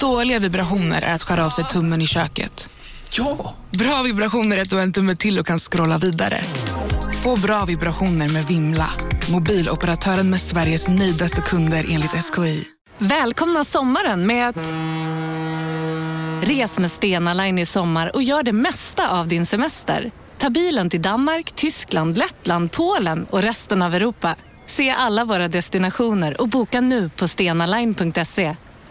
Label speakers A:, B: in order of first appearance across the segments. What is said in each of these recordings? A: Dåliga vibrationer är att skära av sig tummen i köket.
B: Ja!
A: Bra vibrationer är att du har en tumme till och kan scrolla vidare. Få bra vibrationer med Vimla. Mobiloperatören med Sveriges nöjdaste kunder enligt SKI.
C: Välkomna sommaren med att... Res med Stena Line i sommar och gör det mesta av din semester. Ta bilen till Danmark, Tyskland, Lettland, Polen och resten av Europa. Se alla våra destinationer och boka nu på stenaline.se.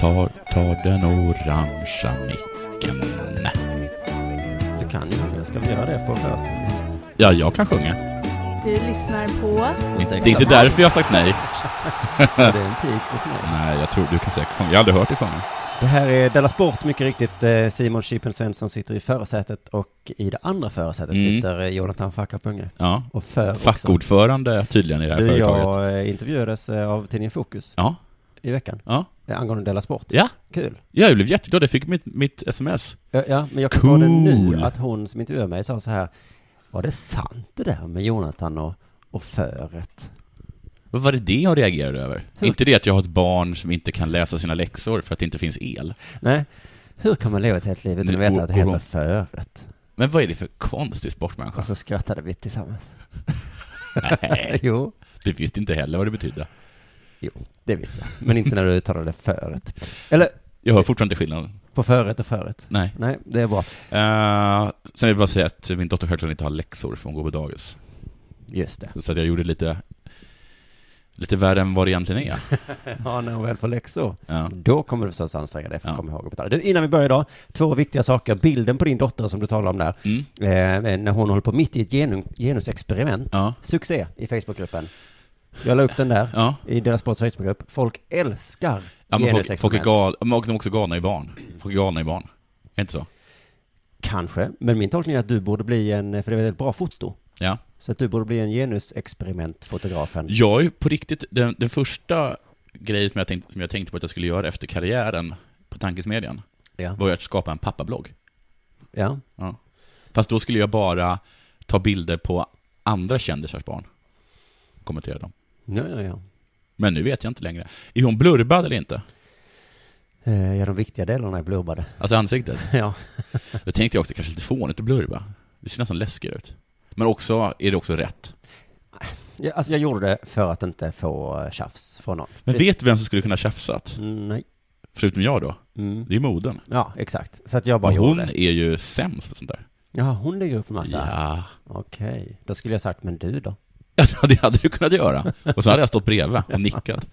D: Tar, tar den orangea micken.
E: Du kan ju sjunga. Ska vi göra det på föreställningen?
D: Ja, jag kan sjunga.
F: Du lyssnar på...
D: Det är inte därför jag har sagt nej.
E: Det är en typ pik mot mig.
D: Nej, jag tror du kan säkert sjunga. Jag har aldrig hört dig sjunga.
E: Det här är Della Sport, mycket riktigt. Eh, Simon Chippen Svensson sitter i förarsätet och i det andra förarsätet
D: Mm.
E: sitter eh, Jonathan Fackapunge.
D: Ja.
E: Och för också.
D: Fackordförande tydligen i det här
E: Du och
D: företaget.
E: jag eh, intervjuades eh, av tidningen Fokus
D: Ja.
E: i veckan.
D: Ja.
E: eh, Angående Della Sport.
D: Ja.
E: Kul.
D: Ja, jag blev jätteglad. Jag fick mitt, mitt sms.
E: Ja, ja men jag kan cool. det
D: Cool.
E: nu att hon som intervjuade mig sa så här. Var det sant det där med Jonathan och, och föret?
D: Vad var det det jag reagerade över?
E: Hur?
D: Inte det att jag har ett barn som inte kan läsa sina läxor för att det inte finns el.
E: Nej. Hur kan man leva ett helt liv utan att
D: Nu
E: veta att det
D: går- går
E: heter föret?
D: Men vad är det för konstig sportmänniska?
E: Och så skrattade vi tillsammans.
D: Nej,
E: jo.
D: det visste inte heller vad det betydde.
E: Jo, det visste jag. Men inte när du uttalade föret. Eller
D: Jag hör fortfarande inte skillnaden.
E: på föret och föret.
D: Nej.
E: Nej, det är bra.
D: Eh, sen vill jag bara säga att min dotter självklart inte har läxor för hon går på dagis.
E: Just det.
D: Så att jag gjorde lite, lite värre än vad det egentligen är.
E: Ja, när hon väl får läxor.
D: Ja.
E: Då kommer du förstås anstränga dig för att
D: Ja.
E: komma ihåg att betala. Du, innan vi börjar idag, två viktiga saker. Bilden på din dotter som du talar om där,
D: Mm.
E: eh, när hon håller på mitt i ett genu- genusexperiment.
D: Ja.
E: Succé i Facebookgruppen. Jag la upp den där.
D: Ja.
E: I deras sports Facebookgrupp. Folk älskar
D: Ja, men folk,
E: genusexperiment.
D: folk är gal, men de är också galna i barn. Folk är galna i barn. Är det inte så?
E: Kanske, men min tolkning är att du borde bli en, för det är ett bra foto.
D: Ja.
E: Så att du borde bli en genusexperimentfotografen.
D: Jag är på riktigt, den, den första grejen som jag, tänkte, som jag tänkte på att jag skulle göra efter karriären på Tankesmedjan
E: Ja.
D: var ju att skapa en pappablogg.
E: ja.
D: Ja. Fast då skulle jag bara ta bilder på andra kändisars barn. Kommentera dem.
E: Ja, ja, ja.
D: Men nu vet jag inte längre. Är hon blurbad eller inte?
E: Eh, Ja, de viktiga delarna är blubbade.
D: Alltså ansiktet.
E: Ja.
D: Då tänkte jag också kanske lite fånigt att blurba. Det ser nästan läskigt ut. Men också, är det också rätt?
E: ja. Alltså jag gjorde det för att inte få eh, tjafs från någon.
D: Men vet du vem som skulle kunna tjafsat?
E: Mm, Nej.
D: Förutom jag då?
E: Mm.
D: Det är moden.
E: Ja, exakt. Så att jag bara
D: Och hon
E: gjorde det.
D: är ju sämst på sånt där.
E: Jaha, hon lägger upp en massa.
D: Ja.
E: Okej. Då skulle jag sagt, men du då?
D: Ja, det hade du kunnat göra. Och så hade jag stått bredvid och nickat.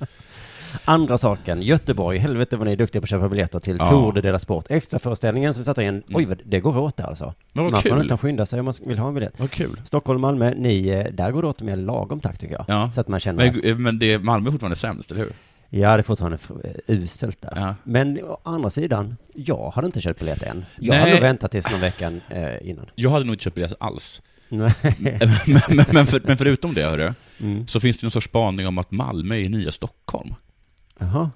E: Andra saken, Göteborg. Helvete vad ni är duktiga på att köpa biljetter till
D: Ja.
E: Tour de Dela Sport. Extra föreställningen som vi satte in. Oj, vad- det går åt där alltså.
D: Men vad
E: man
D: kul.
E: får nästan skynda sig om man vill ha en biljett.
D: Vad kul.
E: Stockholm, Malmö, ni, eh, där går det åt mer lagom takt tycker jag.
D: Ja.
E: Så att man känner att,
D: Men, men det är Malmö är fortfarande sämst, eller hur?
E: ja det är fortfarande f- eh, uselt där.
D: Ja.
E: Men å andra sidan, jag hade inte köpt biljett än. Jag
D: Nej.
E: hade nog väntat tills någon vecka eh, innan.
D: Jag hade nog inte köpt biljett alls.
E: Nej.
D: Men, men, men, för, men förutom det, hörru,
E: Mm.
D: så finns det någon sorts spaning om att Malmö är nya Stockholm.
E: Jaha.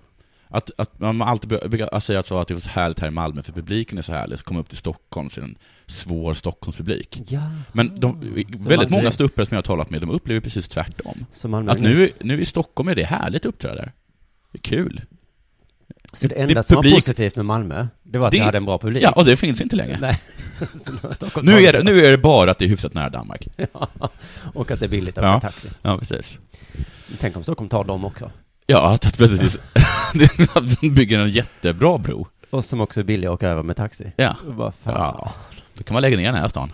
D: Att, att man alltid be- brukar säga att, så att det var så härligt här i Malmö för publiken är så härlig, så kommer upp till Stockholm så är det en svår Stockholmspublik.
E: Ja.
D: Men de, väldigt
E: Malmö-
D: många ståuppare som jag har talat med, de upplever precis tvärtom.
E: Så Malmö
D: Att nu, nu i Stockholm är det härligt att uppträda där. Det är kul.
E: Så det
D: det
E: enda som
D: publik-
E: var positivt med Malmö, det var att
D: Det-
E: det... jag hade en bra publik.
D: Ja, och det finns inte längre.
E: Nej. Så nu har Stockholm
D: Nu är, det,
E: tagit
D: nu är det bara att det är hyfsat nära Danmark.
E: Och att det är billigt att
D: Ja.
E: åka taxi.
D: Ja, precis.
E: Tänk om Stockholm tar dem också.
D: Ja, att att plötsligt att de bygger en jättebra bro.
E: Och som också är billiga att åka över med taxi.
D: Ja.
E: Vad fan.
D: ja. Då kan man lägga ner den här stan.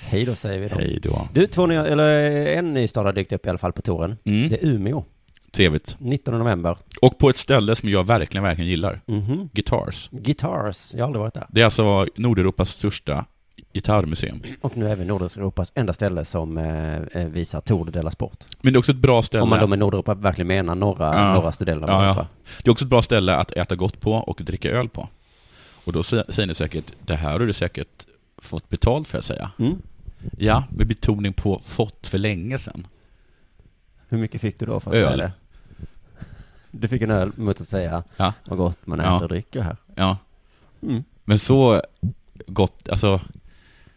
E: Hej då säger vi då.
D: Hej då.
E: Du, två nya, eller en ny stad har dykt upp i alla fall på touren.
D: Mm.
E: Det är Umeå,
D: Trevligt.
E: 19 november.
D: Och på ett ställe som jag verkligen, verkligen gillar.
E: Mhm.
D: Guitars.
E: Guitars, jag har aldrig varit där.
D: Det är alltså Nordeuropas största gitarrmuseum.
E: Och nu även Nordeuropas enda ställe som eh, eh, visar Tour de la Sport.
D: Men det är också ett bra ställe.
E: Om man då med Nordeuropa verkligen menar norra,
D: Ja.
E: norraste delen av
D: Ja, ja.
E: Europa.
D: Det är också ett bra ställe att äta gott på och dricka öl på. Och då sä- säger ni säkert, det här har du säkert fått betalt för att säga.
E: Mm.
D: Ja, med betoning på fått för länge sedan.
E: Hur mycket fick du då för att
D: Öl.
E: säga det? Du fick en öl mot att säga
D: Ja.
E: vad gott man
D: Ja.
E: äter och dricker här.
D: Ja.
E: Mm.
D: Men så gott, alltså,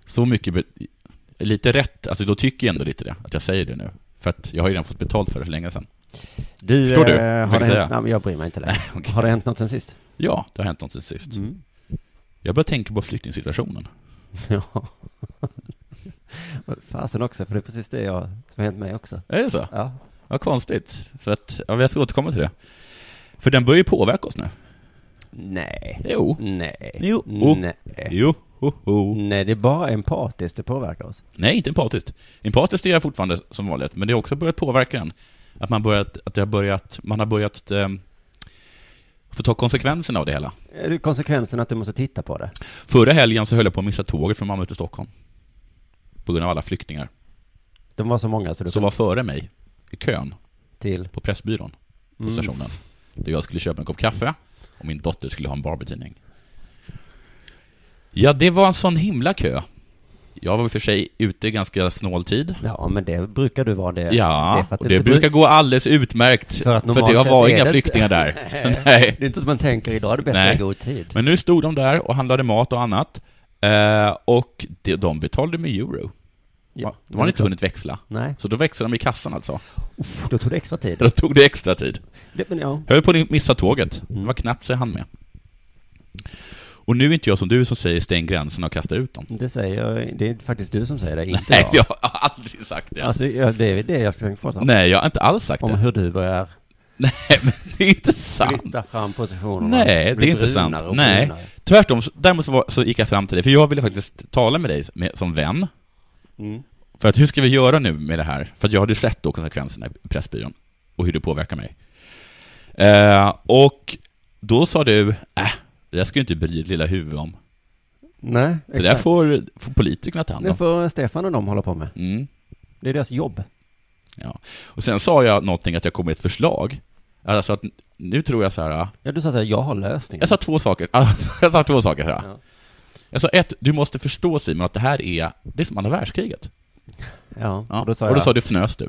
D: så mycket, be- lite rätt, alltså då tycker jag ändå lite det, att jag säger det nu. För att jag har ju redan fått betalt för det för länge sedan.
E: Du, eh,
D: Förstår du? Jag
E: har
D: tänkte
E: det
D: säga.
E: hänt, nej, men jag bryr mig inte längre.
D: okej.
E: Har det hänt något sen sist?
D: Ja, det har hänt något sen sist.
E: Mm.
D: Jag börjar tänka på flyktingsituationen.
E: Ja. Fasen också, för det är precis det jag, som har hänt mig också.
D: Är det så?
E: Ja.
D: Vad konstigt. För att, ja, jag ska återkomma till det. För den börjar ju påverka oss nu.
E: Nej.
D: Jo.
E: Nej.
D: Jo.
E: Nej.
D: Jo. Ho, ho.
E: Nej, det är bara empatiskt det påverkar oss.
D: Nej, inte empatiskt. Empatiskt är jag fortfarande som vanligt, men det har också börjat påverka en. Att man, börjat, att det har, börjat, man har börjat ehm, få ta konsekvenserna av det hela.
E: Är det Eh, Konsekvensen att du måste titta på det.
D: Förra helgen så höll jag på att missa tåget från Malmö till Stockholm. På grund av alla flyktingar.
E: De var så många så du
D: Som
E: kom
D: var före mig i kön
E: till.
D: på Pressbyrån, på
E: Mm.
D: stationen. Där jag skulle köpa en kopp kaffe och min dotter skulle ha en Barbie-tidning. Ja, det var en sån himla kö. Jag var i och för sig ute i ganska snål tid.
E: Ja, men det brukar du vara det.
D: Ja,
E: för att
D: och
E: det
D: det
E: inte
D: brukar
E: bruk-
D: gå alldeles utmärkt. För,
E: För att
D: att
E: normalt
D: det har
E: sett
D: varit
E: är
D: inga
E: det inte.
D: flyktingar där. Nej.
E: Det är inte så att man tänker idag är det bäst att
D: Nej.
E: jag går i tid.
D: Men nu stod de där och handlade mat och annat. Eh, och de, de betalade med euro.
E: Ja,
D: de hade inte hunnit växla.
E: Nej,
D: Så då växlade de i kassan alltså.
E: då tog det extra tid.
D: Då tog det extra tid.
E: Det, men ja.
D: Jag höll på att missa tåget. Det var knappt så jag hann med. Och nu är inte jag som du som säger stäng gränserna och kasta ut dem.
E: Det säger jag, det är faktiskt du som säger det, inte
D: Nej, jag
E: jag.
D: har aldrig sagt det.
E: Alltså, jag, det är det jag ska prata om.
D: Nej, jag har inte alls sagt
E: Om
D: det.
E: hur du börjar
D: Nej, men det är inte sant.
E: flytta fram positionerna.
D: Nej, det
E: Bli
D: är inte sant.
E: brunare och
D: Nej,
E: brunare.
D: tvärtom. så- Däremot så var- så gick jag fram till dig, för jag ville faktiskt tala med dig med, som vän.
E: Mm.
D: För att hur ska vi göra nu med det här? För att jag hade sett då konsekvenserna i Pressbyrån och hur det påverkar mig. Eh, och då sa du, äh, det där ska du inte bry ditt lilla huvud om.
E: Nej,
D: Det där
E: exakt.
D: får, får politikerna ta hand
E: Det
D: om.
E: får Stefan och de hålla på med.
D: Mm.
E: Det är deras jobb.
D: Och sen sa jag någonting att jag kom med ett förslag. Alltså att nu tror jag så här,
E: Ja, du sa såhär, jag har lösningen.
D: jag sa två saker. Alltså, jag sa två saker så här.
E: Ja.
D: Jag sa ett, du måste förstå Simon att det här är, det är som andra världskriget.
E: ja,
D: Ja.
E: och då sa
D: och
E: jag,
D: då sa du fnös du.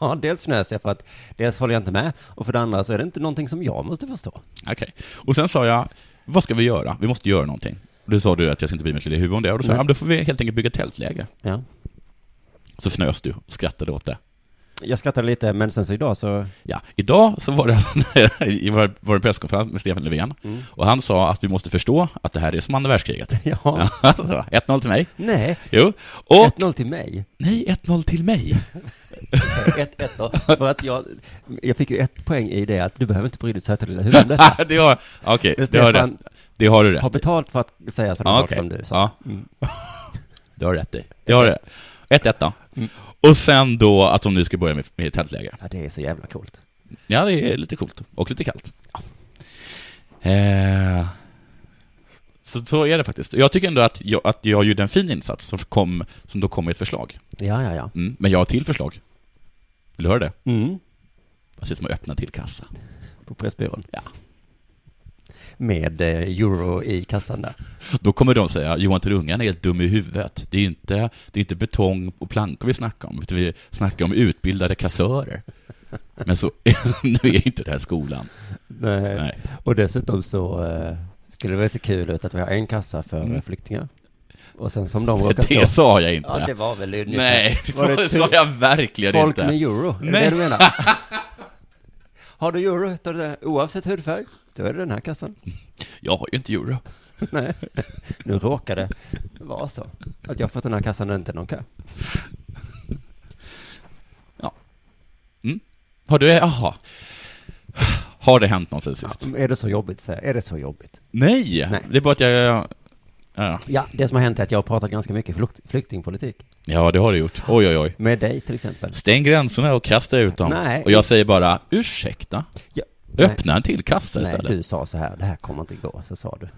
E: ja, dels fnös jag för att dels håller jag inte med, och för det andra så är det inte någonting som jag måste förstå.
D: Okej. Och sen sa jag, vad ska vi göra? Vi måste göra någonting. Och då sa du att jag ska inte bli mitt lilla huvud om det. Och då sa
E: Nej.
D: jag, ja, men då får vi helt enkelt bygga tältläger.
E: Ja.
D: Så fnös du och skrattade åt det.
E: Jag skrattade lite, men sen så idag så,
D: Ja, idag så var det, i vår, vår presskonferens med Stefan Löfven, och han sa att vi måste förstå att det här är som andra världskriget.
E: ja,
D: Alltså, 1-0 till mig.
E: nej,
D: Jo. Och,
E: 1-0 till mig.
D: nej, 1-0 till mig.
E: 1-1 då, för att jag, jag fick ju ett poäng i det att du behöver inte bry dig så här till lilla huvud om detta.
D: det har, okej, det har du
E: Stefan
D: rätt. Det har du rätt.
E: har betalt för att säga sådana saker
D: okej.
E: som du sa. Mm.
D: Ja. Det har du rätt i. Det har du. 1-1 då. Och sen då att de nu ska börja med, med tältläger.
E: Ja, det är så jävla coolt.
D: Ja, det är lite coolt. Och lite kallt. Eh, så, så är det faktiskt. Jag tycker ändå att jag, att jag gjorde en fin insats som, kom, som då kom med ett förslag.
E: Ja, ja, ja.
D: Mm. Men jag har ett till förslag. Vill du höra det?
E: Mm.
D: Jag ser som att öppna till kassa.
E: På Pressbyrån.
D: Ja.
E: Med eh, euro i kassan där.
D: Då kommer de säga, Johan Terungan är helt dum i huvudet. Det är inte, det är inte betong och plankor vi snackar om, utan vi snackar om utbildade kassörer. Men så, nu är inte det här skolan.
E: Nej.
D: Nej.
E: Och dessutom så eh, skulle det väl se kul ut att vi har en kassa för eh, flyktingar. Och sen som de råkar stå...
D: Mm. Det sa jag
E: Ja, det
D: inte.
E: var väl ungefär-
D: Nej,
E: Var det typ
D: det typ sa jag verkligen
E: Folk
D: inte.
E: med euro, är det
D: Nej.
E: det du menar? har du euro, då är det, oavsett hudfärg, då är det den här kassan.
D: Jag har ju inte euro.
E: Nej, nu råkar det vara så. Att jag har fått den här kassan när det inte är någon kö.
D: Har du, jaha. Har det hänt något sen sist?
E: Ja, är det så jobbigt, säger jag. Är det så jobbigt?
D: Nej,
E: Nej.
D: det är bara att jag... Ja,
E: Ja, det som har hänt är att jag har pratat ganska mycket flukt- flyktingpolitik.
D: ja det har du gjort. Oj, oj, oj.
E: Med dig till exempel.
D: Stäng gränserna och kasta ut dem.
E: Nej.
D: Och jag säger bara, ursäkta?
E: Ja,
D: Öppna en till kassa
E: Nej,
D: istället.
E: du sa så här, det här kommer inte gå, så sa du.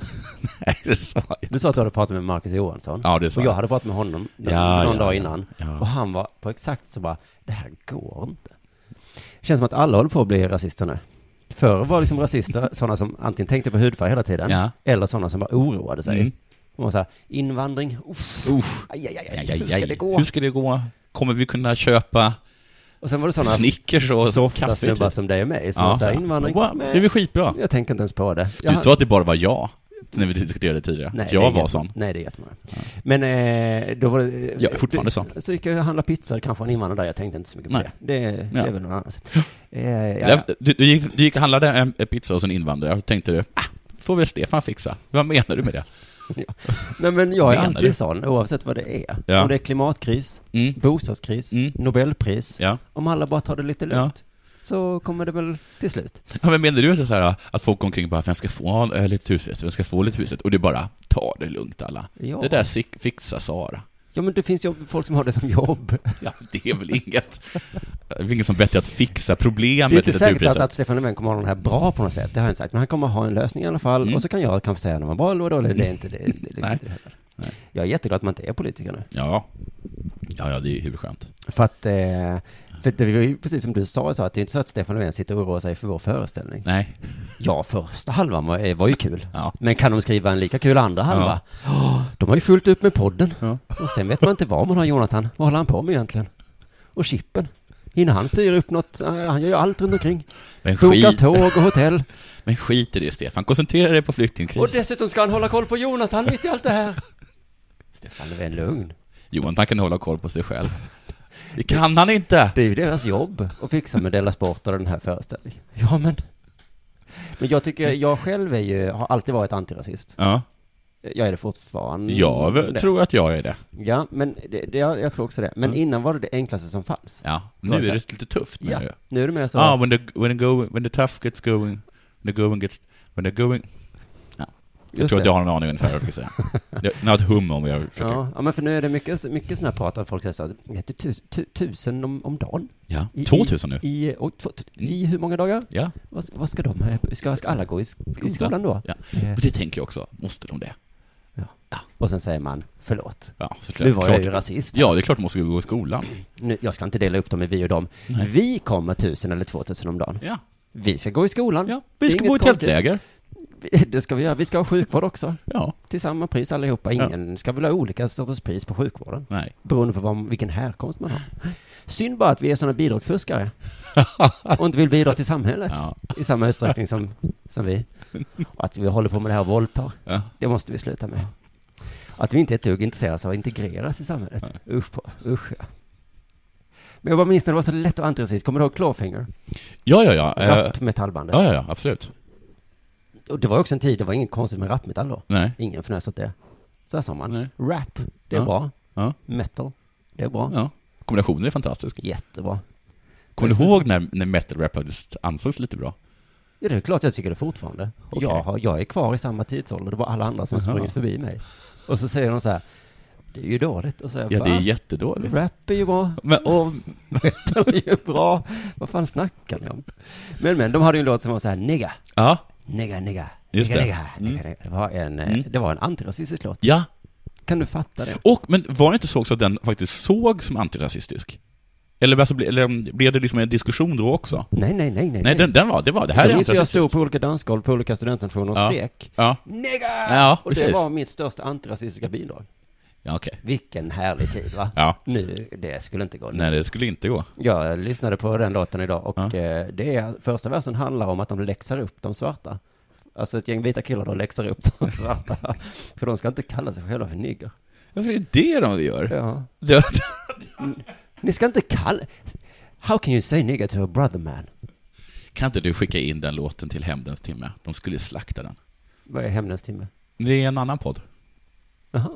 D: Nej, det sa jag.
E: Du sa att du hade pratat med Marcus Johansson.
D: Ja, det sa
E: och jag
D: jag.
E: hade pratat med honom någon,
D: Ja,
E: någon
D: ja,
E: dag
D: ja.
E: innan.
D: Ja.
E: Och han var på exakt så bara, det här går inte. Känns som att alla håller på att bli rasister nu. Förr var liksom rasister sådana som antingen tänkte på hudfärg hela tiden,
D: Ja.
E: eller sådana som bara oroade sig.
D: Mm.
E: De var så här, invandring, uff,
D: Usch.
E: aj, aj, aj,
D: Aj,
E: aj,
D: aj,
E: hur ska
D: aj.
E: det gå?
D: Hur ska det gå? Kommer vi kunna köpa
E: Och sen var det sådana
D: Snickers och
E: softa
D: kaffe?
E: snubbar
D: typ?
E: som dig och mig, som var så här, invandring,
D: Wow,
E: men
D: Det är väl skitbra?
E: jag tänker inte ens på det.
D: Du sa att det bara var jag, när vi diskuterade tidigare. att
E: det är
D: jag var
E: jätte-
D: sån.
E: Nej, det är jättemånga. Men eh, då var det...
D: Jag är fortfarande sån.
E: Så gick jag och handlade pizza, kanske en invandrare där, jag tänkte inte så mycket på
D: Nej.
E: det. Det, det
D: Ja.
E: är väl någon annans. Eh, ja, ja.
D: Där- Du, du, gick, du gick och handlade en en pizza hos en invandrare och tänkte du, ah, får väl Stefan fixa. Vad menar du med det?
E: Nej men jag är
D: Menar
E: alltid
D: du?
E: sån, oavsett vad det är.
D: Ja.
E: Om det är klimatkris,
D: Mm.
E: bostadskris,
D: Mm.
E: nobelpris.
D: Ja.
E: Om alla bara tar det lite
D: Ja.
E: lugnt, så kommer det väl till slut.
D: ja, men menar du så här, att folk går omkring och bara, vem ska få eh, lite huset, vem ska få lite huset? Och du bara, ta det lugnt alla.
E: Ja.
D: Det där sik- fixar Sara.
E: Ja men det finns ju folk som har det som jobb.
D: Ja, det är väl inget, det är väl inget som bättre att fixa
E: Det är
D: problemet i
E: inte säkert att,
D: litteraturpriset.
E: att Stefan Löfven kommer ha den här bra på något sätt, det har jag inte sagt. Men han kommer ha en lösning i alla fall,
D: Mm.
E: och så kan jag kanske säga när man var eller dålig, det är inte det, det, är liksom
D: Nej.
E: inte det heller. Jag är jätteglad att man inte är politiker nu.
D: Ja. ja, ja, det är hur skönt.
E: För att, eh, för det var ju precis som du sa, så att det är inte så att Stefan Löfven sitter och oroar sig för vår föreställning.
D: Nej.
E: Ja, första halvan var, eh, var ju kul.
D: Ja.
E: Men kan de skriva en lika kul andra halva? Åh, de har ju fullt upp med podden. Och sen vet man inte vad man har Jonathan. Vad håller han på med egentligen? Och Chippen? Hinner han styra upp något? Eh, Han gör ju allt runt omkring.
D: Men
E: Bokar
D: skit,
E: tåg och hotell.
D: men skit i det, Stefan. Koncentrera dig på
E: Och
D: flyktingkrisen.
E: dessutom ska han hålla koll på Jonathan mitt i allt det här. Stefan Löfven, lugn.
D: Johan, han kan hålla koll på sig själv. Det kan han inte!
E: Det är ju deras jobb att fixa med Della Sport och den här föreställningen. Ja, men... Men jag tycker, jag själv är ju, har alltid varit antirasist.
D: Ja,
E: Jag är det fortfarande.
D: jag v-
E: Det.
D: tror att jag är det.
E: Ja, men det, det, jag, jag tror också det. Men innan var det det enklaste som fanns.
D: Ja, nu
E: Vad
D: är
E: säger-
D: det lite tufft med
E: Ja,
D: det.
E: Nu är det mer så.
D: Ah, when the, when the go, when the tough gets going, when the going gets, when the going... Jag
E: just
D: tror
E: det.
D: att jag har en aning ungefär vad jag försöker säga. Jag jag har ett hum om vad jag försöker... Ja.
E: Ja, ja, men för nu är det mycket, mycket sån här prat att folk säger så här, det är typ tu, tu, tusen om, om dagen. I-
D: 2000 nu.
E: I, oj, två, I hur många dagar?
D: Ja.
E: Vad, vad ska de, eh, ska, ska alla gå i, sk- i skolan då?
D: Ja.
E: Eh,
D: Och det tänker jag också. Måste de det?
E: Och sen säger man, förlåt,
D: Ja, såklart.
E: nu var jag ju
D: Klart.
E: rasist.
D: Ja, det är klart de måste gå i skolan.
E: Nu, jag ska inte dela upp dem i vi och dem.
D: Nej.
E: Vi kommer tusen eller två tusen om dagen.
D: Ja.
E: Vi ska gå i skolan.
D: ja.
E: Det är
D: Vi ska
E: inget
D: bo i
E: konstigt.
D: tältläger.
E: Det ska vi göra. Vi ska ha sjukvård också.
D: Ja.
E: Till samma pris allihopa. Ingen ska väl ha olika sorters pris på sjukvården.
D: Nej.
E: Beroende på vad, vilken härkomst man har. Synd bara att vi är sådana bidragsfuskare. och inte vill bidra till samhället.
D: Ja.
E: I samma utsträckning som, som vi. Och att vi håller på med det här och våldtar.
D: Ja.
E: Det måste vi sluta med. Att vi inte är ett dugg intresserade av att integreras i samhället. Usch på, usch ja. Men jag bara minns när det var så lätt och antirasist. Kommer du ihåg Clawfinger?
D: Ja, ja, ja. Eh,
E: Rappmetallbandet.
D: Ja, ja, ja, absolut.
E: Och det var också en tid, det var inget konstigt med rapmetall då.
D: Nej.
E: Ingen fnös åt det. Så här sa man.
D: Nej.
E: Rap, det är
D: Ja.
E: bra.
D: Ja.
E: Metal, det är bra.
D: Ja. Kombinationen är fantastisk.
E: Jättebra.
D: Kommer
E: Jag
D: du
E: skulle
D: ihåg när, när metal rap faktiskt ansågs lite bra?
E: Ja, det är klart jag tycker det fortfarande.
D: Okej.
E: Jag, har, jag är kvar i samma tidsålder, det var alla andra som har
D: Jaha.
E: sprungit förbi mig. Och så säger de så här, det är ju dåligt. Och så säger jag,
D: Ja, det är
E: "Va?
D: jättedåligt.
E: Rap är ju bra,
D: Men, och,
E: metal är ju bra. Vad fan snackar ni om? Men men, de hade ju en låt som var så här, nigga,
D: ja,
E: nigga, nigga,
D: Just
E: nigga,
D: det.
E: nigga,
D: Mm.
E: nigga, nigga. Det var en, eh,
D: Mm.
E: det var en antirasistisk låt.
D: ja.
E: Kan du fatta det?
D: Och, men var det inte så också att den faktiskt såg som antirasistisk? Eller, alltså, ble, eller mm, blev det liksom en diskussion då också? Nej,
E: Nej, nej, nej, nej.
D: Den, den var, det var, det här
E: Jag
D: är
E: minns hur jag stod
D: antirasistiskt.
E: på olika dansgolv på olika studentnationer och
D: Ja.
E: skrek
D: Ja,
E: Nigga!
D: Ja,
E: och det
D: precis.
E: var mitt största antirasistiska bidrag.
D: ja okej.
E: Vilken härlig tid va?
D: Ja.
E: Nu, det skulle inte gå nu.
D: Nej, det skulle inte gå.
E: Jag lyssnade på den låten idag och
D: Ja.
E: eh, det är, första versen handlar om att de läxar upp de svarta. Alltså ett gäng vita killar då läxar upp de svarta. för de ska inte kalla sig själva för nigger.
D: Varför är det det de gör?
E: Ja.
D: Det,
E: Ni ska inte kalla... How can you say nigger to a brother man?
D: kan inte du skicka in den låten till Hämndens timme? De skulle slakta den.
E: Vad är hämndens timme?
D: Det är en annan podd.
E: Jaha.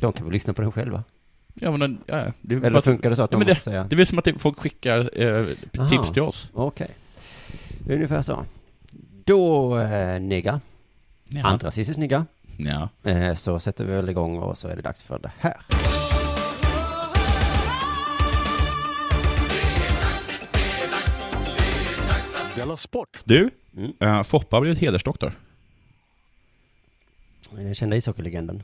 E: De kan väl lyssna på den själva?
D: Ja, men den, ja, det, är
E: Eller
D: bara-
E: funkar det så att
D: Ja,
E: de
D: men
E: måste säga...
D: det är väl som att det- folk skickar eh, tips
E: Aha.
D: till oss.
E: Okej. Ungefär så. Då, eh, nigga,
D: Ja.
E: antirasistisk nigga,
D: Ja.
E: eh, så sätter vi väl igång och så är det dags för det här.
B: Della Sport.
D: Du,
E: Mm.
D: eh, Foppa har blivit hedersdoktor.
E: Den kända ishockeylegenden.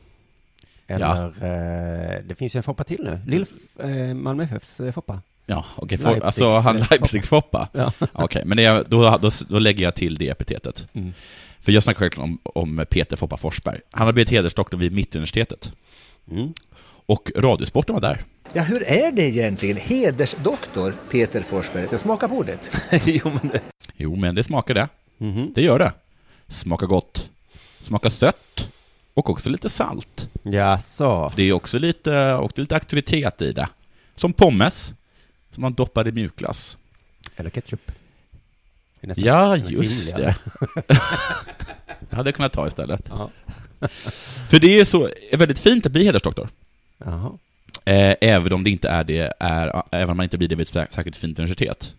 E: Eller, eh, det finns ju en Foppa till nu. Lill, F- eh, Malmö FFs eh, Foppa.
D: Ja, okej.
E: Leipzigs-
D: Okay, alltså han
E: eh,
D: Leipzig-Foppa.
E: Ja.
D: Okej, men det, är- då, då, då lägger jag till det epitetet.
E: Mm.
D: För jag snackar självklart om, om Peter Foppa Forsberg. Han har blivit hedersdoktor vid Mittuniversitetet.
E: Mm.
D: Och Radiosporten var där.
G: Ja, hur är det egentligen? Hedersdoktor Peter Forsberg. Ska smaka på ordet?
D: Jo, men det smakar det.
E: Mhm.
D: Det gör det. Smakar gott. Smakar sött. Och också lite salt.
E: Jaså?
D: Det är också lite, och det är lite aktivitet i det. Som pommes, som man doppar i mjukglass.
E: Eller ketchup. Det är nästan
D: Ja, just
E: rimligare.
D: det. det hade jag kunnat ta istället.
E: Ja.
D: För det är så är väldigt fint att bli hedersdoktor.
E: Jaha.
D: Eh, även om det inte är det, är, även om man inte blir det vid ett sä- särskilt fint universitet.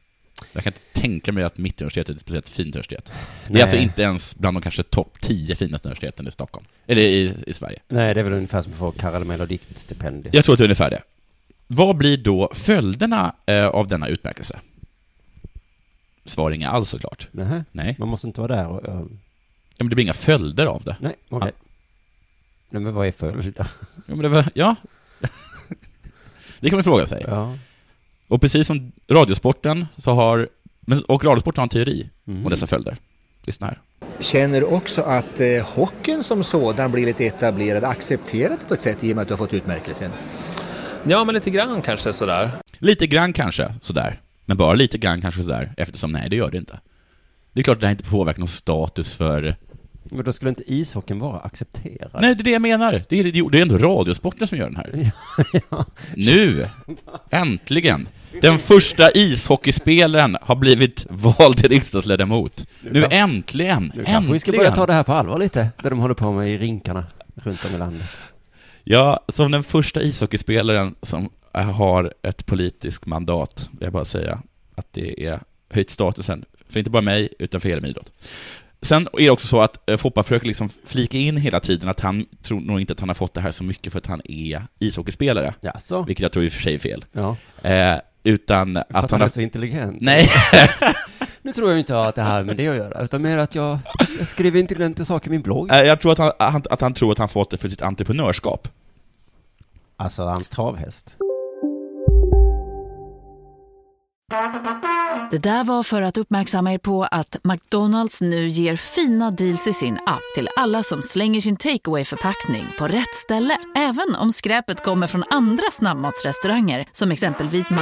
D: Jag kan inte tänka mig att Mittuniversitetet är ett speciellt fint universitet. Det är
E: Nej.
D: alltså inte ens bland de kanske topp 10 finaste universiteten i Stockholm. Eller i, i Sverige.
E: Nej, det är väl ungefär som att få karamell och diktstipendiet.
D: Jag tror att det är ungefär det. Vad blir då följderna eh, av denna utmärkelse? Svar inga alls såklart.
E: Nähä.
D: Nej.
E: Man måste inte vara där och... och
D: Ja, men det blir inga följder av det.
E: nej, okej. Nej, men vad är följd?
D: Ja, men det, var, ja. det kan man fråga sig.
E: Ja.
D: Och precis som Radiosporten så har, men- och Radiosporten har en teori
E: Mm.
D: om dessa följder. Lyssna här.
G: Känner också att eh, hockeyn som sådan blir lite etablerad, accepterad på ett sätt i och med att du har fått utmärkelsen.
H: Ja, men lite grann kanske sådär.
D: Lite grann kanske, sådär. Men bara lite grann kanske sådär, eftersom nej, det gör det inte. Det är klart att det här inte påverkar någon status för...
E: Men då skulle inte ishockeyn vara accepterad?
D: Nej, det är det jag menar. Det är, det är ändå Radiosporten som gör den här. Nu! Äntligen! Den första ishockeyspelaren har blivit vald till riksdagsledamot. Nu
E: kan-
D: äntligen!
E: Nu kanske
D: äntligen!
E: vi ska börja ta det här på allvar lite, det de håller på med i rinkarna runt om i landet.
D: Ja, som den första ishockeyspelaren som eh, har ett politiskt mandat, vill jag bara säga att det är höjt statusen, för inte bara mig, utan för hela min idrott. Sen är det också så att eh, Foppa försöker liksom flika in hela tiden att han tror nog inte att han har fått det här så mycket för att han är ishockeyspelare,
E: Jaså?
D: vilket jag tror i och för sig är fel.
E: Ja,
D: Eh, utan
E: för
D: att han har...
E: är så intelligent.
D: Nej,
E: Nu tror jag inte att det här med det att göra, utan mer att jag, jag skriver intelligenta saker i min blogg.
D: eh, jag tror att han, han, att han tror att han fått det för sitt entreprenörskap.
E: Alltså hans travhäst.
I: Det där var för att uppmärksamma er på att McDonalds nu ger fina deals i sin app till alla som slänger sin takeaway förpackning på rätt ställe. Även om skräpet kommer från andra snabbmatsrestauranger som exempelvis Ma...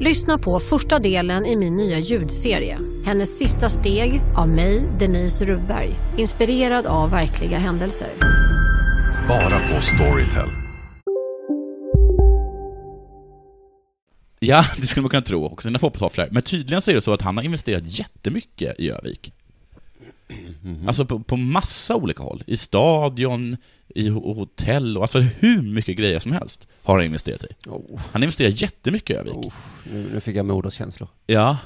J: Lyssna på första delen i min nya ljudserie. Hennes sista steg av mig, Denise Rubberg. Inspirerad av verkliga händelser.
B: Bara på Storytel.
D: Ja, det skulle man kunna tro också, när fotbollstofflor. Men tydligen så är det så att han har investerat jättemycket i Övik. Alltså på, på massa olika håll. I stadion, i ho- hotell och alltså hur mycket grejer som helst har han investerat i.
E: Oh,
D: Han investerar jättemycket i Övik.
E: nu, nu fick jag moderskänslor.
D: Ja.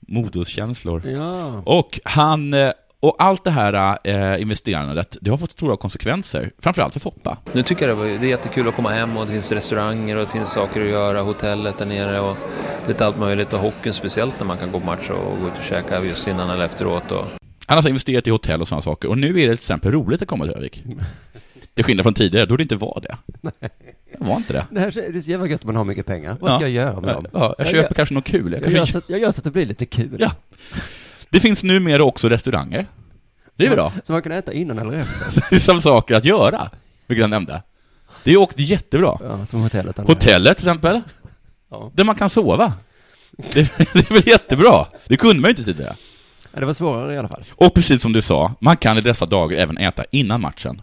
D: Modoskänslor.
E: Ja.
D: Och han, eh, och allt det här eh, investerandet, det har fått stora konsekvenser. Framförallt för Foppa.
H: Nu tycker jag det, var, det är jättekul att komma hem och det finns restauranger och det finns saker att göra, hotellet där nere och lite allt möjligt och hockeyn speciellt när man kan gå på match och gå ut och käka just innan eller efteråt. Och...
D: Han har alltså investerat i hotell och sådana saker. Och nu är det till exempel roligt att komma till Övik. Till skillnad från tidigare, då det inte var det. Det var inte det.
E: Det här det är så jävla gött att man har mycket pengar. Vad ska
D: Ja.
E: jag göra med dem?
D: Ja, jag köper kanske något kul. Jag
E: Jag gör,
D: kanske...
E: så att, jag gör så att det blir lite kul.
D: Ja. Det finns numera också restauranger. Det är bra.
E: Så man kan äta innan eller efter.
D: Som saker att göra, vilket jag nämnde. Det är också jättebra.
E: Ja, som hotellet. annars.
D: Hotellet till exempel,
E: Ja.
D: där man kan sova. Det, det är väl jättebra? Det kunde man ju inte tidigare.
E: Ja, det var svårare i alla fall.
D: Och precis som du sa, man kan i dessa dagar även äta innan matchen.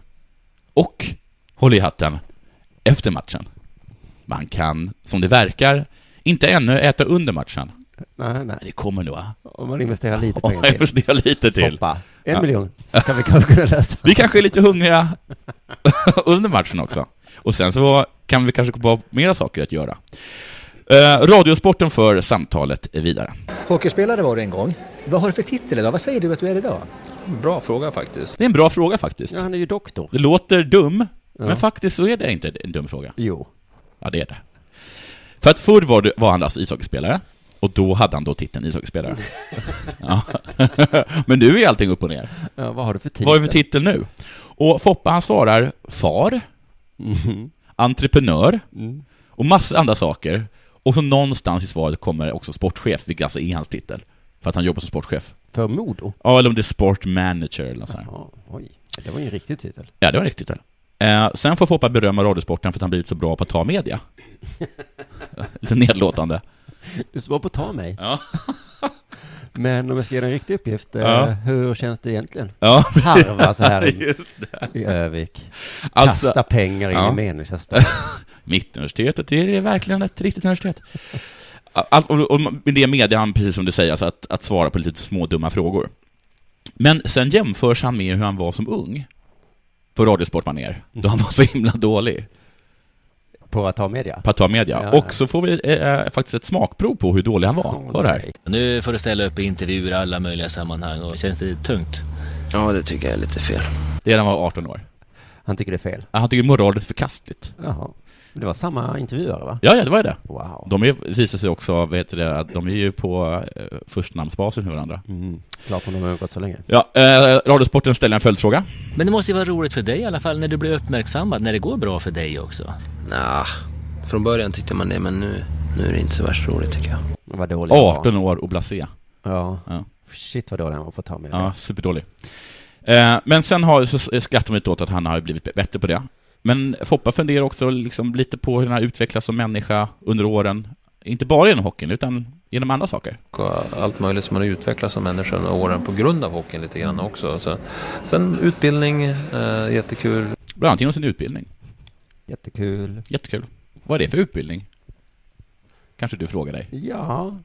D: Och, håll i hatten, efter matchen. Man kan, som det verkar, inte ännu äta under matchen.
E: Nej, nej.
D: Det kommer nog. va?
E: Om man investerar lite
D: Om
E: pengar
D: man
E: till.
D: investerar lite till.
E: Foppa, en
D: Ja.
E: miljon, så ska vi kanske kunna lösa
D: Vi kanske är lite hungriga under matchen också. Och sen så kan vi kanske komma på mera saker att göra. Eh, radiosporten för samtalet vidare.
G: Hockeyspelare var du en gång. Vad har du för titel idag? Vad säger du att du är idag?
H: Bra fråga faktiskt.
D: Det är en bra fråga faktiskt.
E: Ja, han är ju doktor.
D: Det låter dum,
E: Ja.
D: men faktiskt så är det inte en dum fråga.
E: Jo.
D: Ja, det är det. För att förr var, det, var han alltså ishockeyspelare, och då hade han då titeln ishockeyspelare. ja. men nu är allting upp och ner.
E: Ja, vad har du för titel?
D: Vad är det för titel nu? Och Foppa han svarar far,
E: Mhm.
D: entreprenör
E: Mm.
D: och massa andra saker. Och så någonstans i svaret kommer också sportchef, vilket alltså är hans titel. För att han jobbar som sportchef.
E: För Modo?
D: Ja, eller om det är sportmanager eller något sånt. här.
E: Oj, det var ju en riktig titel.
D: Ja, det var riktigt. Eller? Eh, sen får Foppa berömma Radiosporten för att han blivit så bra på att ta media. Lite nedlåtande.
E: Du som var på att ta mig.
D: Ja.
E: Men om jag ska ge dig en riktig uppgift, eh,
D: Ja.
E: hur känns det egentligen?
D: Ja.
E: Harva så här i,
D: Just det.
E: i Övik.
D: Alltså-
E: Kasta pengar in
D: Ja.
E: i meningslösa stad.
D: Mittuniversitetet, det är verkligen ett riktigt universitet. Allt, och, och med det media han, precis som du säger, alltså att, att svara på lite små dumma frågor. Men sen jämförs han med hur han var som ung. På Radiosportmanér, då han var så himla dålig
E: På att ta media?
D: på att ta media.
E: Ja, ja.
D: och så får vi eh, faktiskt ett smakprov på hur dålig han var. Hör det här.
K: Nu får du ställa upp i intervjuer i alla möjliga sammanhang och känns det tungt?
D: Ja, det tycker jag är lite fel. Det är när han var 18 år.
E: Han tycker det är fel.
D: Ja, Han tycker det är moraliskt förkastligt.
E: Jaha. Det var samma intervjuare va?
D: Ja, ja, det var ju det.
E: Wow.
D: De är, visar sig också, vad heter det, att de är ju på eh, förstnamnsbasis med varandra.
E: Mm. Klart om de har gått så länge.
D: Ja, eh, Radiosporten ställer en följdfråga.
K: Men det måste ju vara roligt för dig i alla fall när du blir uppmärksammad, när det går bra för dig också.
L: Nja, från början tyckte man det men nu, nu är det inte så värst roligt tycker jag.
E: Vad dålig han var.
D: 18 år och blasé.
E: Ja.
D: ja.
E: Shit vad dålig han var på att ta media.
D: Ja, superdålig. Eh, men sen har, så skrattar man lite åt att han har blivit bättre på det. Men Foppa funderar också liksom lite på hur han har utvecklats som människa under åren. Inte bara genom hockeyn, utan genom andra saker.
H: och allt möjligt som man har utvecklats som människa under åren på grund av hockeyn lite grann också. Så, sen utbildning, eh, jättekul.
D: Bland annat genom sin utbildning.
E: Jättekul.
D: Jättekul. Vad är det för utbildning? Kanske du frågar dig?
E: Ja.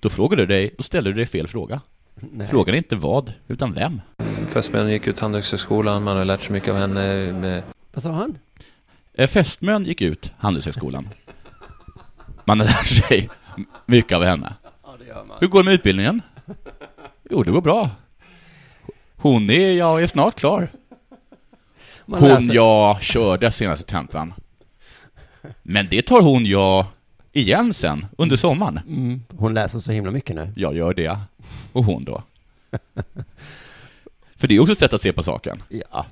D: Då frågar du dig, då ställer du dig fel fråga.
E: Nej.
D: Frågan är inte vad, utan vem.
H: Fästmön gick ut Handelshögskolan, man har lärt sig mycket av henne. Med,
E: Vad sa han?
D: Eh, Fästmön gick ut Handelshögskolan. Man har lärt sig mycket av henne. Hur går det med utbildningen? Jo, det går bra. Hon är, jag är snart klar.
E: Man
D: Hon
E: läser-
D: jag körde senaste tentan. Men det tar hon jag igen sen, under sommaren.
E: Mm. Hon läser så himla mycket nu.
D: Jag gör det. Och hon då. För det är också ett sätt att se på saken.
E: Ja.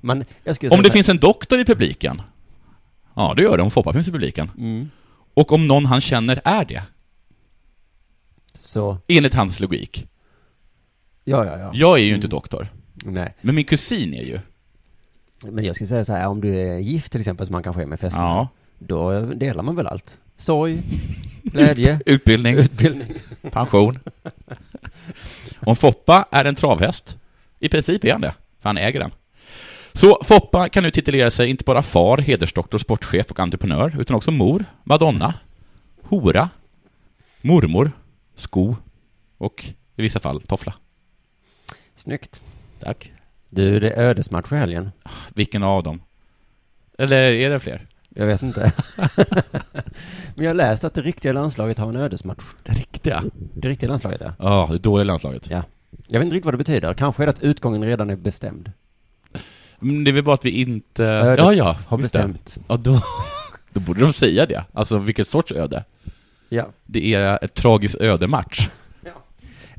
E: Man, jag skulle
D: Om
E: säga
D: det
E: så här-
D: finns en doktor i publiken. Ja, det gör det om Foppa finns i publiken.
E: Mm.
D: Och om någon han känner är det.
E: Så,
D: Enligt hans logik.
E: ja, ja, ja.
D: Jag är ju
E: Mm.
D: inte doktor.
E: Nej.
D: Men min kusin är ju.
E: Men jag skulle säga så här, om du är gift till exempel, som man kanske är med fästmö,
D: Ja.
E: då delar man väl allt? Sorg, glädje,
D: Utbildning.
E: Utbildning.
D: Pension. Om Foppa är en travhäst, i princip är han det, för han äger den. Så Foppa kan nu titulera sig inte bara far, hedersdoktor, sportchef och entreprenör, utan också mor, madonna, hora, mormor, sko och i vissa fall toffla.
E: Snyggt.
D: Tack.
E: Du, det är ödesmatch i helgen.
D: Vilken av dem? Eller är det fler?
E: Jag vet inte. Men jag har läst att det riktiga landslaget har en ödesmatch.
D: Det riktiga?
E: Det riktiga landslaget, ja.
D: Ja, det dåliga landslaget.
E: Ja. Jag vet inte riktigt vad det betyder. Kanske är det att utgången redan är bestämd.
D: Men det är väl bara att vi inte...
E: Ödet
D: ja, ja.
E: har
D: just det.
E: bestämt.
D: Ja, då, då borde de säga det. Alltså, vilket sorts öde?
E: Ja.
D: Det är ett tragiskt ödematch.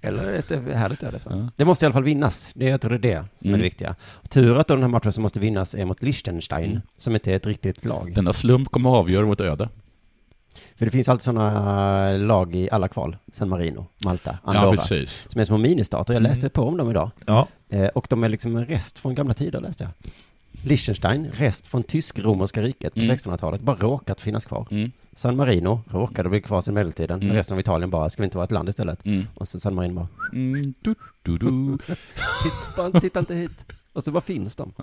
E: Eller ett härligt öde. Ja. Det måste i alla fall vinnas. Det, jag tror det är det som är
D: Mm.
E: det viktiga. Tur att då den här matchen som måste vinnas är mot Liechtenstein,
D: Mm.
E: som inte är ett riktigt lag.
D: Denna slump kommer att avgöra vårt öde.
E: För det finns alltid sådana lag i alla kval. San Marino, Malta, Andorra.
D: precis.
E: Som är små ministater. Jag läste
D: Mm.
E: på om dem idag.
D: Ja.
E: Eh, och de är liksom en rest från gamla tider, läste jag. Liechtenstein, rest från tysk-romerska riket på
D: Mm.
E: 1600-talet, bara råkat finnas kvar.
D: Mm.
E: San Marino råkade bli kvar sedan medeltiden,
D: Mm.
E: resten av Italien bara, ska vi inte vara ett land istället?
D: Mm.
E: Och så San Marino bara,
D: Mm, du, du, du.
E: Titt- bara, titta inte hit. Och så bara finns de.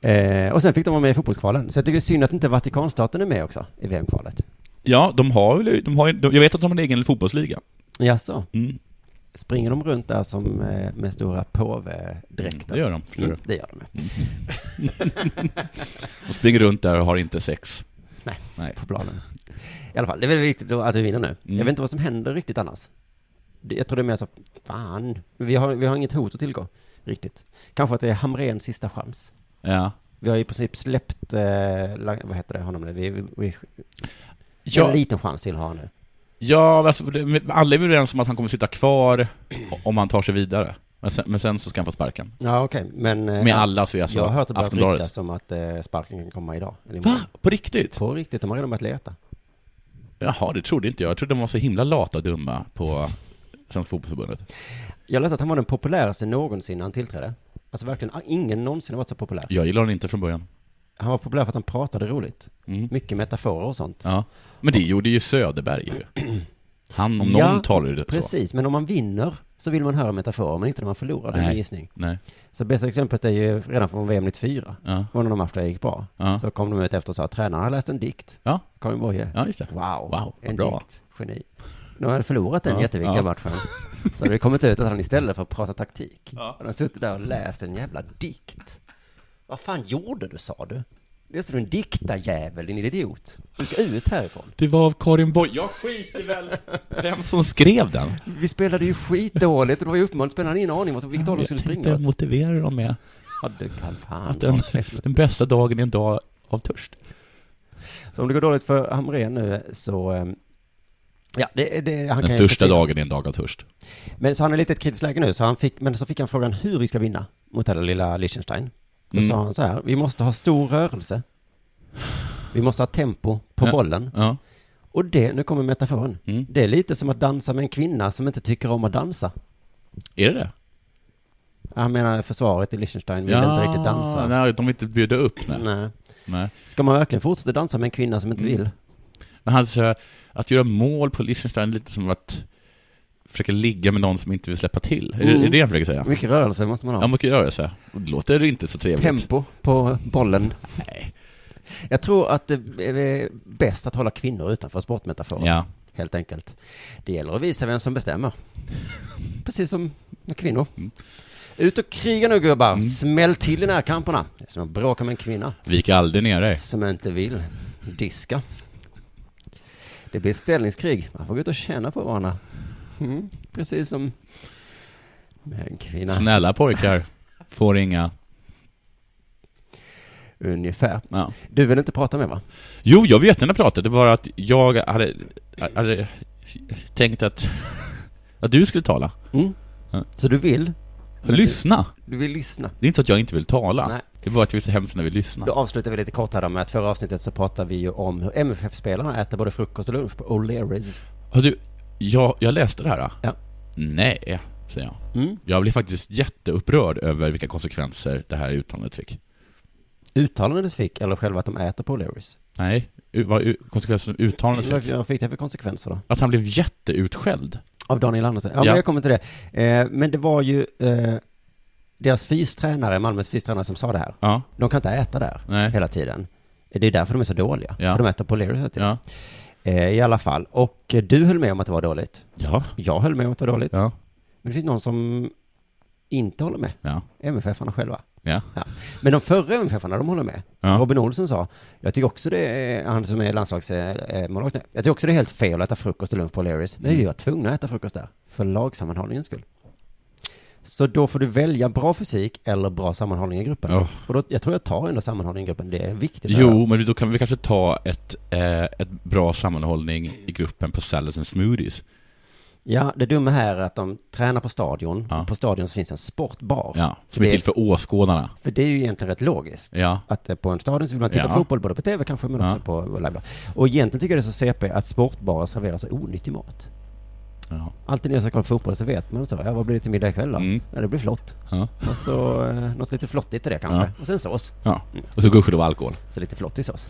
E: Eh, och sen fick de vara med i fotbollskvalen. Så jag tycker det är synd att inte Vatikanstaten är med också i VM-kvalet.
D: Ja, de har väl, de har, de, jag vet att de har en egen fotbollsliga. Mm,
E: Jaså? Springer de runt där som eh, med stora påvedräkter?
D: Det gör de, förstår du.
E: Mm, Det gör de. ju.
D: Och springer runt där och har inte sex.
E: Nej, på planen. I alla fall, det är väldigt viktigt då att vi vinner nu.
D: Mm.
E: Jag vet inte vad som händer riktigt annars. Det- Jag tror det är mer så, fan, vi har, vi har inget hot att tillgå riktigt. Kanske att det är Hamrens sista chans.
D: Ja.
E: Vi har i princip släppt, eh, la- vad heter det, honom nu? Vi, vi, vi,
D: Ja.
E: En liten chans till har han nu.
D: Ja, men alltså, det- men alla är väl överens om att han kommer sitta kvar om han tar sig vidare. Men sen, men sen så ska han få sparken.
E: Ja, okej, men... eh,
D: Med alla så är alltså
E: Jag har hört det börjat
D: Aftonbladet.
E: ryktas om att eh, sparken kan komma idag. eller imorgon.
D: På riktigt?
E: På riktigt, de har redan börjat leta.
D: Jaha, det trodde inte jag. Jag trodde de var så himla lata och dumma på Svenska Fotbollförbundet.
E: Jag läste att han var den populäraste någonsin när han tillträdde. Alltså verkligen, ingen någonsin har varit så populär.
D: Jag gillar honom inte från början.
E: Han var populär för att han pratade roligt.
D: Mm.
E: Mycket metaforer och sånt.
D: Ja. Men det gjorde ju Söderberg ju. Han om någon
E: Ja,
D: talar ju så.
E: Precis, men om man vinner så vill man höra metaforer, men inte när man förlorar. Det är
D: Nej,
E: min gissning.
D: nej.
E: Så bästa exemplet är ju redan från VM 94.
D: Ja.
E: Och när de matcherna gick bra.
D: Ja.
E: Så kom de ut efter och sa att tränaren har läst en dikt.
D: Ja.
E: Karin Boye.
D: Ja, just det.
E: Wow.
D: Wow, vad
E: en
D: bra.
E: dikt. Geni. De hade förlorat den
D: Ja,
E: jätteviktiga
D: ja.
E: matchen. Så hade det kommit ut att han istället för att prata taktik, hade han suttit där och läst en jävla dikt. Vad fan gjorde du, sa du? Läste du en diktarjävel, din idiot? Du ska ut härifrån.
D: Det var av Karin Boye. Jag skiter väl vem som skrev den.
E: Vi spelade ju skitdåligt och det var ju uppenbart, spelade han ingen aning vad som, vilket håll de skulle springa
D: Jag
E: åt.
D: motiverar dem med
E: Ja, det kan fan
D: att den,
E: vara.
D: den bästa dagen är en dag av törst.
E: Så om det går dåligt för Hamrén nu så, ehm, ja, det, det, han
D: Den
E: kan ju
D: största
E: försvinna.
D: dagen är en dag av törst.
E: Men så han är lite i ett kritiskt läge nu, så han fick, men så fick han frågan hur vi ska vinna mot det där lilla Liechtenstein. Då
D: Mm.
E: sa han så här, vi måste ha stor rörelse. Vi måste ha tempo
D: Ja,
E: på
D: Mm.
E: bollen.
D: ja.
E: Och det, nu kommer metaforen, det är lite som att dansa med en kvinna som inte tycker om att dansa.
D: Är det det?
E: Han menar försvaret i Liechtenstein vill inte riktigt dansa.
D: Nej, de vill inte bjuda upp. Nej. Mm.
E: Nej.
D: Nej.
E: Ska man verkligen fortsätta dansa med en kvinna som inte vill?
D: Men han säger att göra mål på Liechtenstein är lite som att försöka ligga med någon som inte vill släppa till. Är, det,
E: Mm.
D: är det jag försöker säga?
E: Mycket rörelse måste man ha.
D: Ja, mycket rörelse. Och Det låter inte så trevligt.
E: Tempo på bollen. Nej. Jag tror att det är bäst att hålla kvinnor utanför sportmetaforen.
D: Ja.
E: Helt enkelt. Det gäller att visa vem som bestämmer. Precis som med kvinnor. Ut och kriga nu gubbar. Smäll till i närkamperna. Det är som att bråka med en kvinna
D: Vik aldrig ner dig.
E: som inte vill diska. Det blir ett ställningskrig. Man får gå ut och känna på varandra. Mm. Precis som med en kvinna.
D: Snälla pojkar, får inga.
E: Ungefär.
D: Ja.
E: Du vill inte prata med va?
D: Jo, jag vet när jag pratade, det var att jag hade, hade tänkt att, att du skulle tala. Ja.
E: Så du vill?
D: Lyssna.
E: Du vill lyssna.
D: Det är inte så att jag inte vill tala.
E: Nej.
D: Det var att jag vill så hemskt när vi lyssnar.
E: Då avslutar vi lite kort här då med att förra avsnittet så pratade vi ju om hur MFF-spelarna äter både frukost och lunch på O'Learys.
D: Har du, jag, jag läste det här. Då.
E: Ja.
D: Nej, säger jag.
E: Mm.
D: Jag blev faktiskt jätteupprörd över vilka konsekvenser det här uttalandet fick.
E: Uttalandet fick, eller själva att de äter på O'Learys.
D: Nej, u- vad u- konsekvensen uttalandet fick.
E: Vad fick det för konsekvenser då?
D: Att han blev jätteutskälld.
E: Av Daniel Andersson? Ja, men
D: Ja.
E: jag kommer till det. Eh, men det var ju eh, deras fystränare, Malmös fystränare som sa det här.
D: Ja.
E: De kan inte äta där
D: Nej.
E: hela tiden. Det är därför de är så dåliga.
D: Ja.
E: För de äter på O'Learys hela tiden. Eh, I alla fall. Och eh, du höll med om att det var dåligt.
D: Ja.
E: Jag höll med om att det var dåligt.
D: Ja.
E: Men det finns någon som inte håller med.
D: Ja.
E: MFF-arna själva.
D: Ja.
E: Men de förra MFF-arna, de håller med.
D: Ja.
E: Robin Olsson sa, jag tycker också det, är- han som är eh, landslagsmålvakt, jag tycker också det är helt fel att äta frukost och lunch på O'Learys.
D: Mm.
E: Men vi var tvungna att äta frukost där, för lagsammanhållningens skull. Så då får du välja bra fysik eller bra sammanhållning i gruppen.
D: Ja.
E: Och då, jag tror jag tar ändå sammanhållning i gruppen, det är viktigt.
D: Oh. Jo, men då kan vi kanske ta ett, eh, ett bra sammanhållning i gruppen på Salads and Smoothies.
E: Ja, det dumma här är att de tränar på stadion, och på stadion så finns en sportbar.
D: Ja, som är
E: Det-
D: till för åskådarna.
E: För det är ju egentligen rätt logiskt.
D: Ja.
E: Att eh, på en stadion så vill man titta
D: Ja.
E: på fotboll, både på tv kanske, men
D: Ja.
E: också på live. då. Och egentligen tycker jag det är så CP att sportbarer serverar så onyttig mat.
D: Ja.
E: Alltid när jag ska kolla fotboll så vet man så, ja vad blir det till middag ikväll då?
D: Mm.
E: Ja, det blir flott.
D: Ja.
E: Och så eh, något lite flottigt i det kanske.
D: Ja.
E: Och sen sås.
D: Ja. Och så gudskelov alkohol.
E: Så lite flottig sås.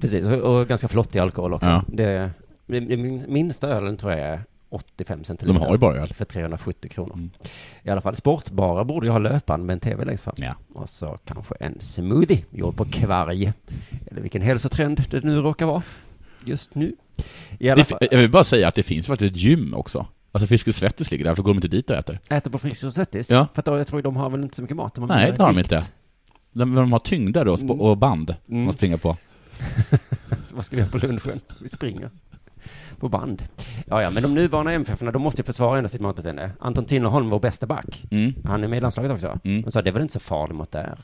E: Precis, och, och ganska flottig alkohol också.
D: Ja.
E: Det, det, det min- minsta ölen tror jag är 85 centiliter.
D: De har ju bara öl. Mm.
E: För 370 kronor. I alla fall, sportbara borde ju ha löpan med en tv längst fram. Och så kanske en smoothie gjord på kvarg. Eller vilken hälsotrend det nu råkar vara. just nu. I alla
D: Det,
E: fall,
D: jag vill bara säga att det finns faktiskt ett gym också. Alltså Fiskes Svettis ligger där, varför går de inte dit och äter?
E: äter på Friskis och Svettis.
D: Ja.
E: För att då, jag tror de har väl inte så mycket mat. De har
D: Nej,
E: bara
D: det har de
E: vikt.
D: inte. De, de har tyngder då, sp- och band,
E: Mm.
D: de springer på.
E: Vad ska vi göra på lunchen? Vi springer. På band. Ja, ja, men de nuvarande MFF-erna, de måste ju försvara ändå sitt matbeteende. Anton Tinnerholm, vår bästa back,
D: Mm.
E: han är med i landslaget också.
D: Mm.
E: De sa, det var inte så farligt mot där.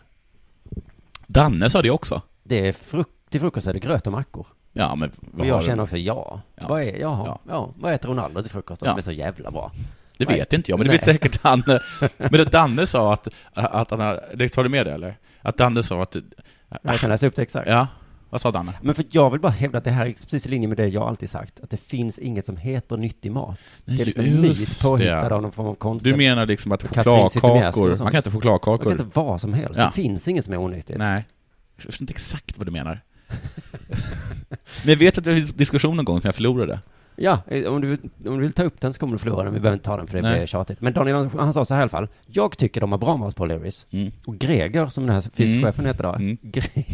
D: Danne sa det också.
E: Det är fruk- till frukost är det gröt och mackor.
D: Ja, men vad
E: och jag
D: har du?
E: känner också, ja. Vad är, jaha, ja. Vad äter Ronaldo till frukost då,
D: Ja.
E: som är så jävla bra?
D: Det
E: Vad
D: vet
E: är-
D: inte jag, men det
E: Nej.
D: vet säkert Danne. Men det Danne sa att, att han har, det tar du med det eller? Att Danne sa att...
E: Jag kan läsa upp det exakt.
D: Ja, vad sa Danne?
E: Men för jag vill bara hävda att det här är precis i linje med det jag alltid sagt, att det finns inget som heter nyttig mat. Det är liksom en myt
D: Just
E: påhittad
D: det.
E: av någon form av konst.
D: Du menar liksom att
E: Katrin Zytomierska och
D: chokladkakor,
E: sånt.
D: man kan inte få chokladkakor.
E: Man kan inte vad som helst.
D: Ja.
E: Det finns inget som är onyttigt.
D: Nej. Jag förstår inte exakt vad du menar. Men jag vet att det var en diskussion en gång som jag förlorade.
E: Ja, eh, om du, vill- om du vill ta upp den så kommer du förlora den. Vi behöver inte ta den för det
D: Nej.
E: blir tjatigt. Men Daniel Andersson, han sa så här i alla fall. Jag tycker de har bra mat på Leris.
D: Mm.
E: Och Greger, som den här fyschefen heter då. Gre-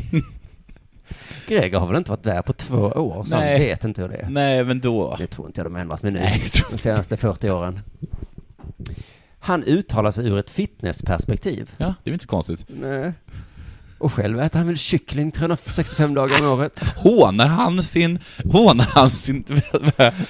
E: Greger har väl inte varit där på två år, så han
D: Nej.
E: vet inte hur det är.
D: Nej, men då...
E: Det tror inte jag de har ändrat med nu.
D: Nej, jag tror
E: de senaste 40 åren. Han uttalar sig ur ett fitnessperspektiv.
D: Ja, det är väl inte så konstigt.
E: Nej. Och själv äter han väl kyckling 365 dagar om året.
D: Hånar han sin... Hånar han sin...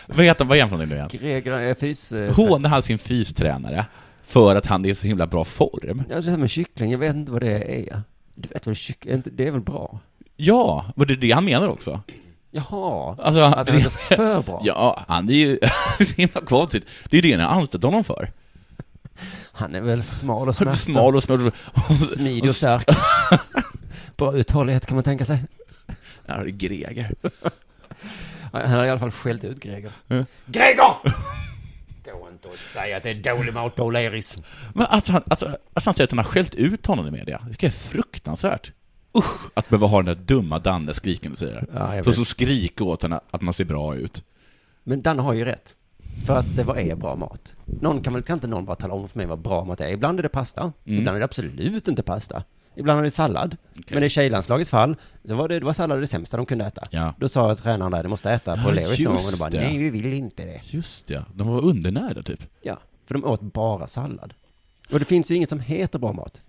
D: vad heter vad är han för någonting nu igen?
E: Greger är fys... eh,
D: Hånar han sin fystränare för att han är i så himla bra form?
E: Ja, det här med kyckling, jag vet inte vad det är. Du vet vad kyckling, är inte- det är väl bra?
D: Ja, var det det han menar också?
E: Jaha,
D: Alltså,
E: att det är inte för bra.
D: Ja, han är ju så himla konstigt. Det är ju det ni har anställt honom för.
E: Han är väl smal och
D: Han är
E: smärt.
D: Smal och smal.
E: Smidig och stark. bra uthållighet kan man tänka sig.
D: Ja, det är Greger.
E: Han har i alla fall skällt ut Greger.
D: Ja.
E: Greger! Gå inte och säg att det är dålig mat på Leris.
D: Men att han, att, att han säger att han har skällt ut honom i media, det tycker jag är fruktansvärt. Usch, att behöva ha den där dumma Danne skrikande säger det.
E: Ja, jag
D: Som
E: vet.
D: så skriker åt henne att man ser bra ut.
E: Men Danne har ju rätt. För att det, vad är bra mat? Någon kan väl, kan inte någon bara tala om för mig vad bra mat är? Ibland är det pasta,
D: Mm.
E: ibland är det absolut inte pasta. Ibland är det sallad. Men i tjejlandslagets fall, så var det, det var sallad det sämsta de kunde äta.
D: Ja.
E: Då sa tränaren där, du måste äta på
D: Ja,
E: Leris någon gång. Och
D: just
E: de bara,
D: det.
E: nej vi vill inte det.
D: Just ja, de var undernärda typ.
E: Ja, för de åt bara sallad. Och det finns ju inget som heter bra mat.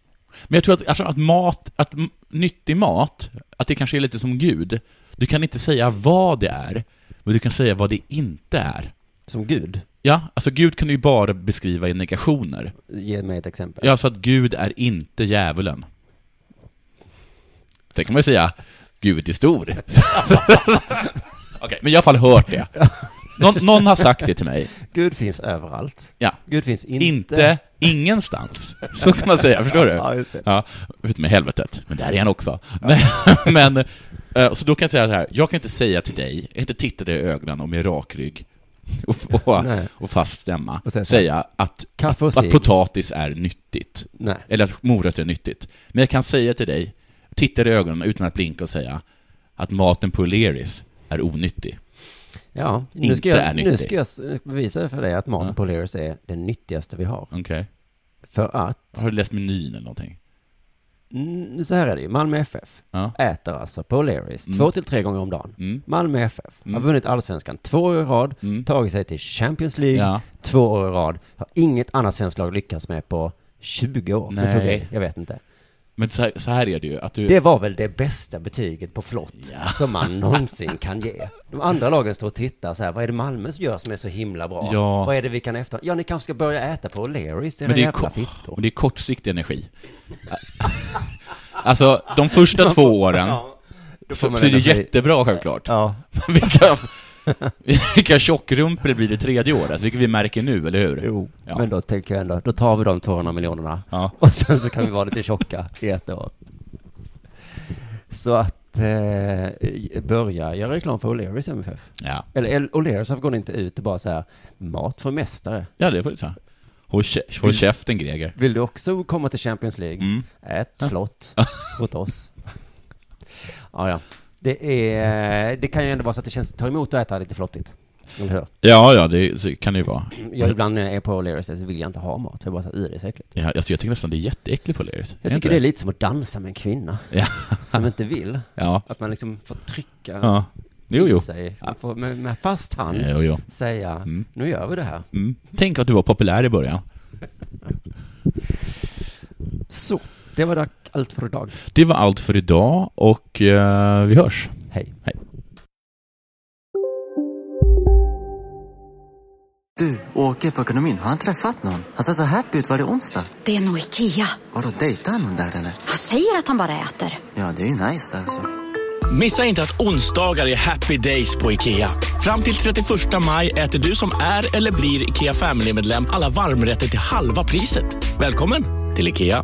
D: Men jag tror att, alltså, att mat, att m- nyttig mat, att det kanske är lite som Gud. Du kan inte säga vad det är, men du kan säga vad det inte är.
E: Som Gud.
D: Ja, alltså Gud kan du ju bara beskriva i negationer.
E: Ge mig ett exempel.
D: Ja, så att Gud är inte djävulen. Det kan man ju säga, Gud är stor. Okej, men jag har i alla fall hört det. Någon, någon har sagt det till mig.
E: Gud finns överallt.
D: Ja.
E: Gud finns inte.
D: Inte ingenstans. Så kan man säga, förstår du?
E: Ja, just det.
D: Ja, ut med helvetet. Men där är han också. Men, men, eh, så då kan jag säga så här, jag kan inte säga till dig, jag kan inte titta dig i ögonen och med rak rygg och, och,
E: Nej.
D: och fast stämma,
E: Och säga så här,
D: säga att,
E: Kaffe och
D: att
E: cigg.
D: potatis är nyttigt.
E: Nej.
D: Eller att morötter är nyttigt. Men jag kan säga till dig, titta dig i ögonen utan att blinka och säga att maten på O'Learys är onyttig.
E: Ja, nu
D: Inte
E: ska,
D: är
E: jag,
D: nyttig.
E: nu ska jag s- bevisa för dig att maten
D: Ja.
E: på Leris är den nyttigaste vi har.
D: Okej.
E: För att,
D: Har du läst menyn eller någonting?
E: mm, så här är det ju, Malmö FF
D: Ja.
E: äter alltså på Leris
D: Mm.
E: två till tre gånger om dagen.
D: Mm.
E: Malmö FF har
D: Mm.
E: vunnit allsvenskan två år i rad,
D: Mm.
E: tagit sig till Champions League
D: Ja.
E: två år i rad, har inget annat svenskt lag lyckats med på 20 år. Nu
D: Nej.
E: tog jag, i, jag vet inte.
D: Men så här, så här är det ju, att du...
E: Det var väl det bästa betyget på flott som man någonsin kan ge. De andra lagen står och tittar så här, vad är det Malmö som gör som är så himla bra?
D: Ja.
E: Vad är det vi kan efter? Ja, ni kanske ska börja äta på O'Learys, era
D: Men det, är
E: jävla
D: ko-
E: fittor.
D: och det är kortsiktig energi. alltså, de första två åren
E: då får
D: så,
E: man
D: så är det
E: energi.
D: jättebra självklart.
E: Ja.
D: Men vilka, vilka tjockrumpor det blir det tredje året, vilket vi märker nu, eller hur?
E: Jo,
D: Ja.
E: men då tänker jag ändå, då tar vi de 200 miljonerna.
D: Ja.
E: Och sen så kan vi vara lite tjocka i ett år. Så att, eh, börja göra reklam för O'Learys MFF.
D: Ja,
E: Eller El- O'Learys går inte ut och bara så här, mat för mästare.
D: ja det får du säga. Håll, kä- håll käften, Greger.
E: Vill du också komma till Champions League?
D: Mm.
E: Ät flott åt oss. ja, ja. Det, är, det kan ju ändå vara så att det känns, ta emot att äta lite flottigt. Eller hur?
D: Ja, ja, det så kan det ju vara.
E: Jag ibland när jag är på O'Learys så vill jag inte ha mat, för jag bara så här, "Ih, det är så äckligt.
D: Ja, alltså, jag tycker nästan det är jätteäckligt på Leris.
E: Jag tycker det är lite som att dansa med en kvinna
D: Ja.
E: som inte vill.
D: Ja.
E: Att man liksom får trycka
D: ja. Eh,
M: Jo, jo.
E: sig. Man får med, med fast hand
M: Jo, jo.
E: säga, nu gör vi det här.
M: Mm. Tänk att du var populär i början.
E: Så, det var dock allt för idag.
M: Det var allt för idag och eh, vi hörs.
E: Hej.
M: Hej.
N: Du, Åke på ekonomin, har han träffat någon? Han ser så happy ut. Var det onsdag?
O: Det är nog Ikea.
N: Vadå, dejtar han någon där eller?
O: Han säger att han bara äter.
N: Ja, det är ju nice alltså.
D: Missa inte att onsdagar är happy days på IKEA. Fram till 31 maj äter du som är eller blir IKEA Family-medlem alla varmrätter till halva priset. Välkommen till IKEA.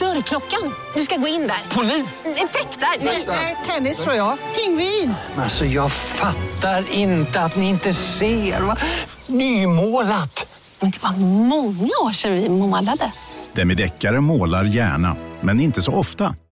P: Dörrklockan. Du ska gå in där. Polis? Effektar? Nej, tennis tror jag. Pingvin.
Q: Alltså jag fattar inte att ni inte ser. Va? Nymålat.
R: Men det var många år sedan vi målade.
G: Demideckare målar gärna, men inte så ofta.